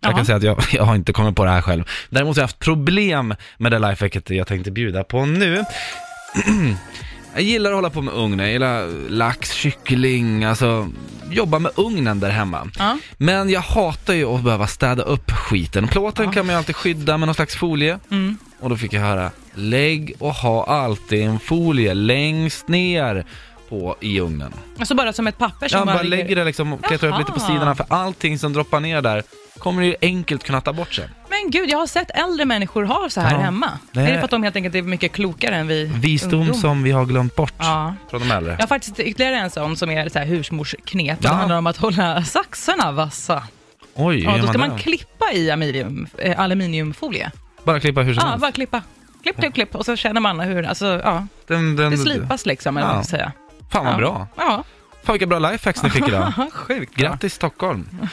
Jag Ja. kan säga att jag, jag har inte kommit på det här själv. Däremot har jag haft problem med det lifehacket jag tänkte bjuda på nu. jag gillar att hålla på med ugn, jag gillar lax, kyckling, alltså jobba med ugnen där hemma. Ja. Men jag hatar ju att behöva städa upp skiten. Plåten kan man ju alltid skydda med någon slags folie. Mm. Och då fick jag höra, lägg och ha alltid en folie längst ner på, i ugnen. Alltså bara som ett papper som Ja, bara ligger- lägger det liksom och klättrar upp lite på Jaha. sidorna för allting som droppar ner där kommer du ju enkelt kunna ta bort sen. Men gud, jag har sett äldre människor ha så här Ja. hemma. Det Är det är- för att de helt enkelt är mycket klokare än vi Visdom ungdomar? som vi har glömt bort Ja. från de äldre. Jag har faktiskt ytterligare en sån som är så här husmorsknep. Ja. Det handlar om att hålla saxarna vassa. Oj, hur Ja, gör då ska man man det? klippa i aluminium, eh, aluminiumfolie. Bara klippa hur som Ja, helst. bara klippa. Klipp, klipp, klipp och så känner man hur, alltså ja, Den, den, det slipas liksom eller vad man ska säga. Fan vad Ja. bra. Ja, Fan vilka bra lifehacks ni fick idag. sjukt bra. Grattis Stockholm.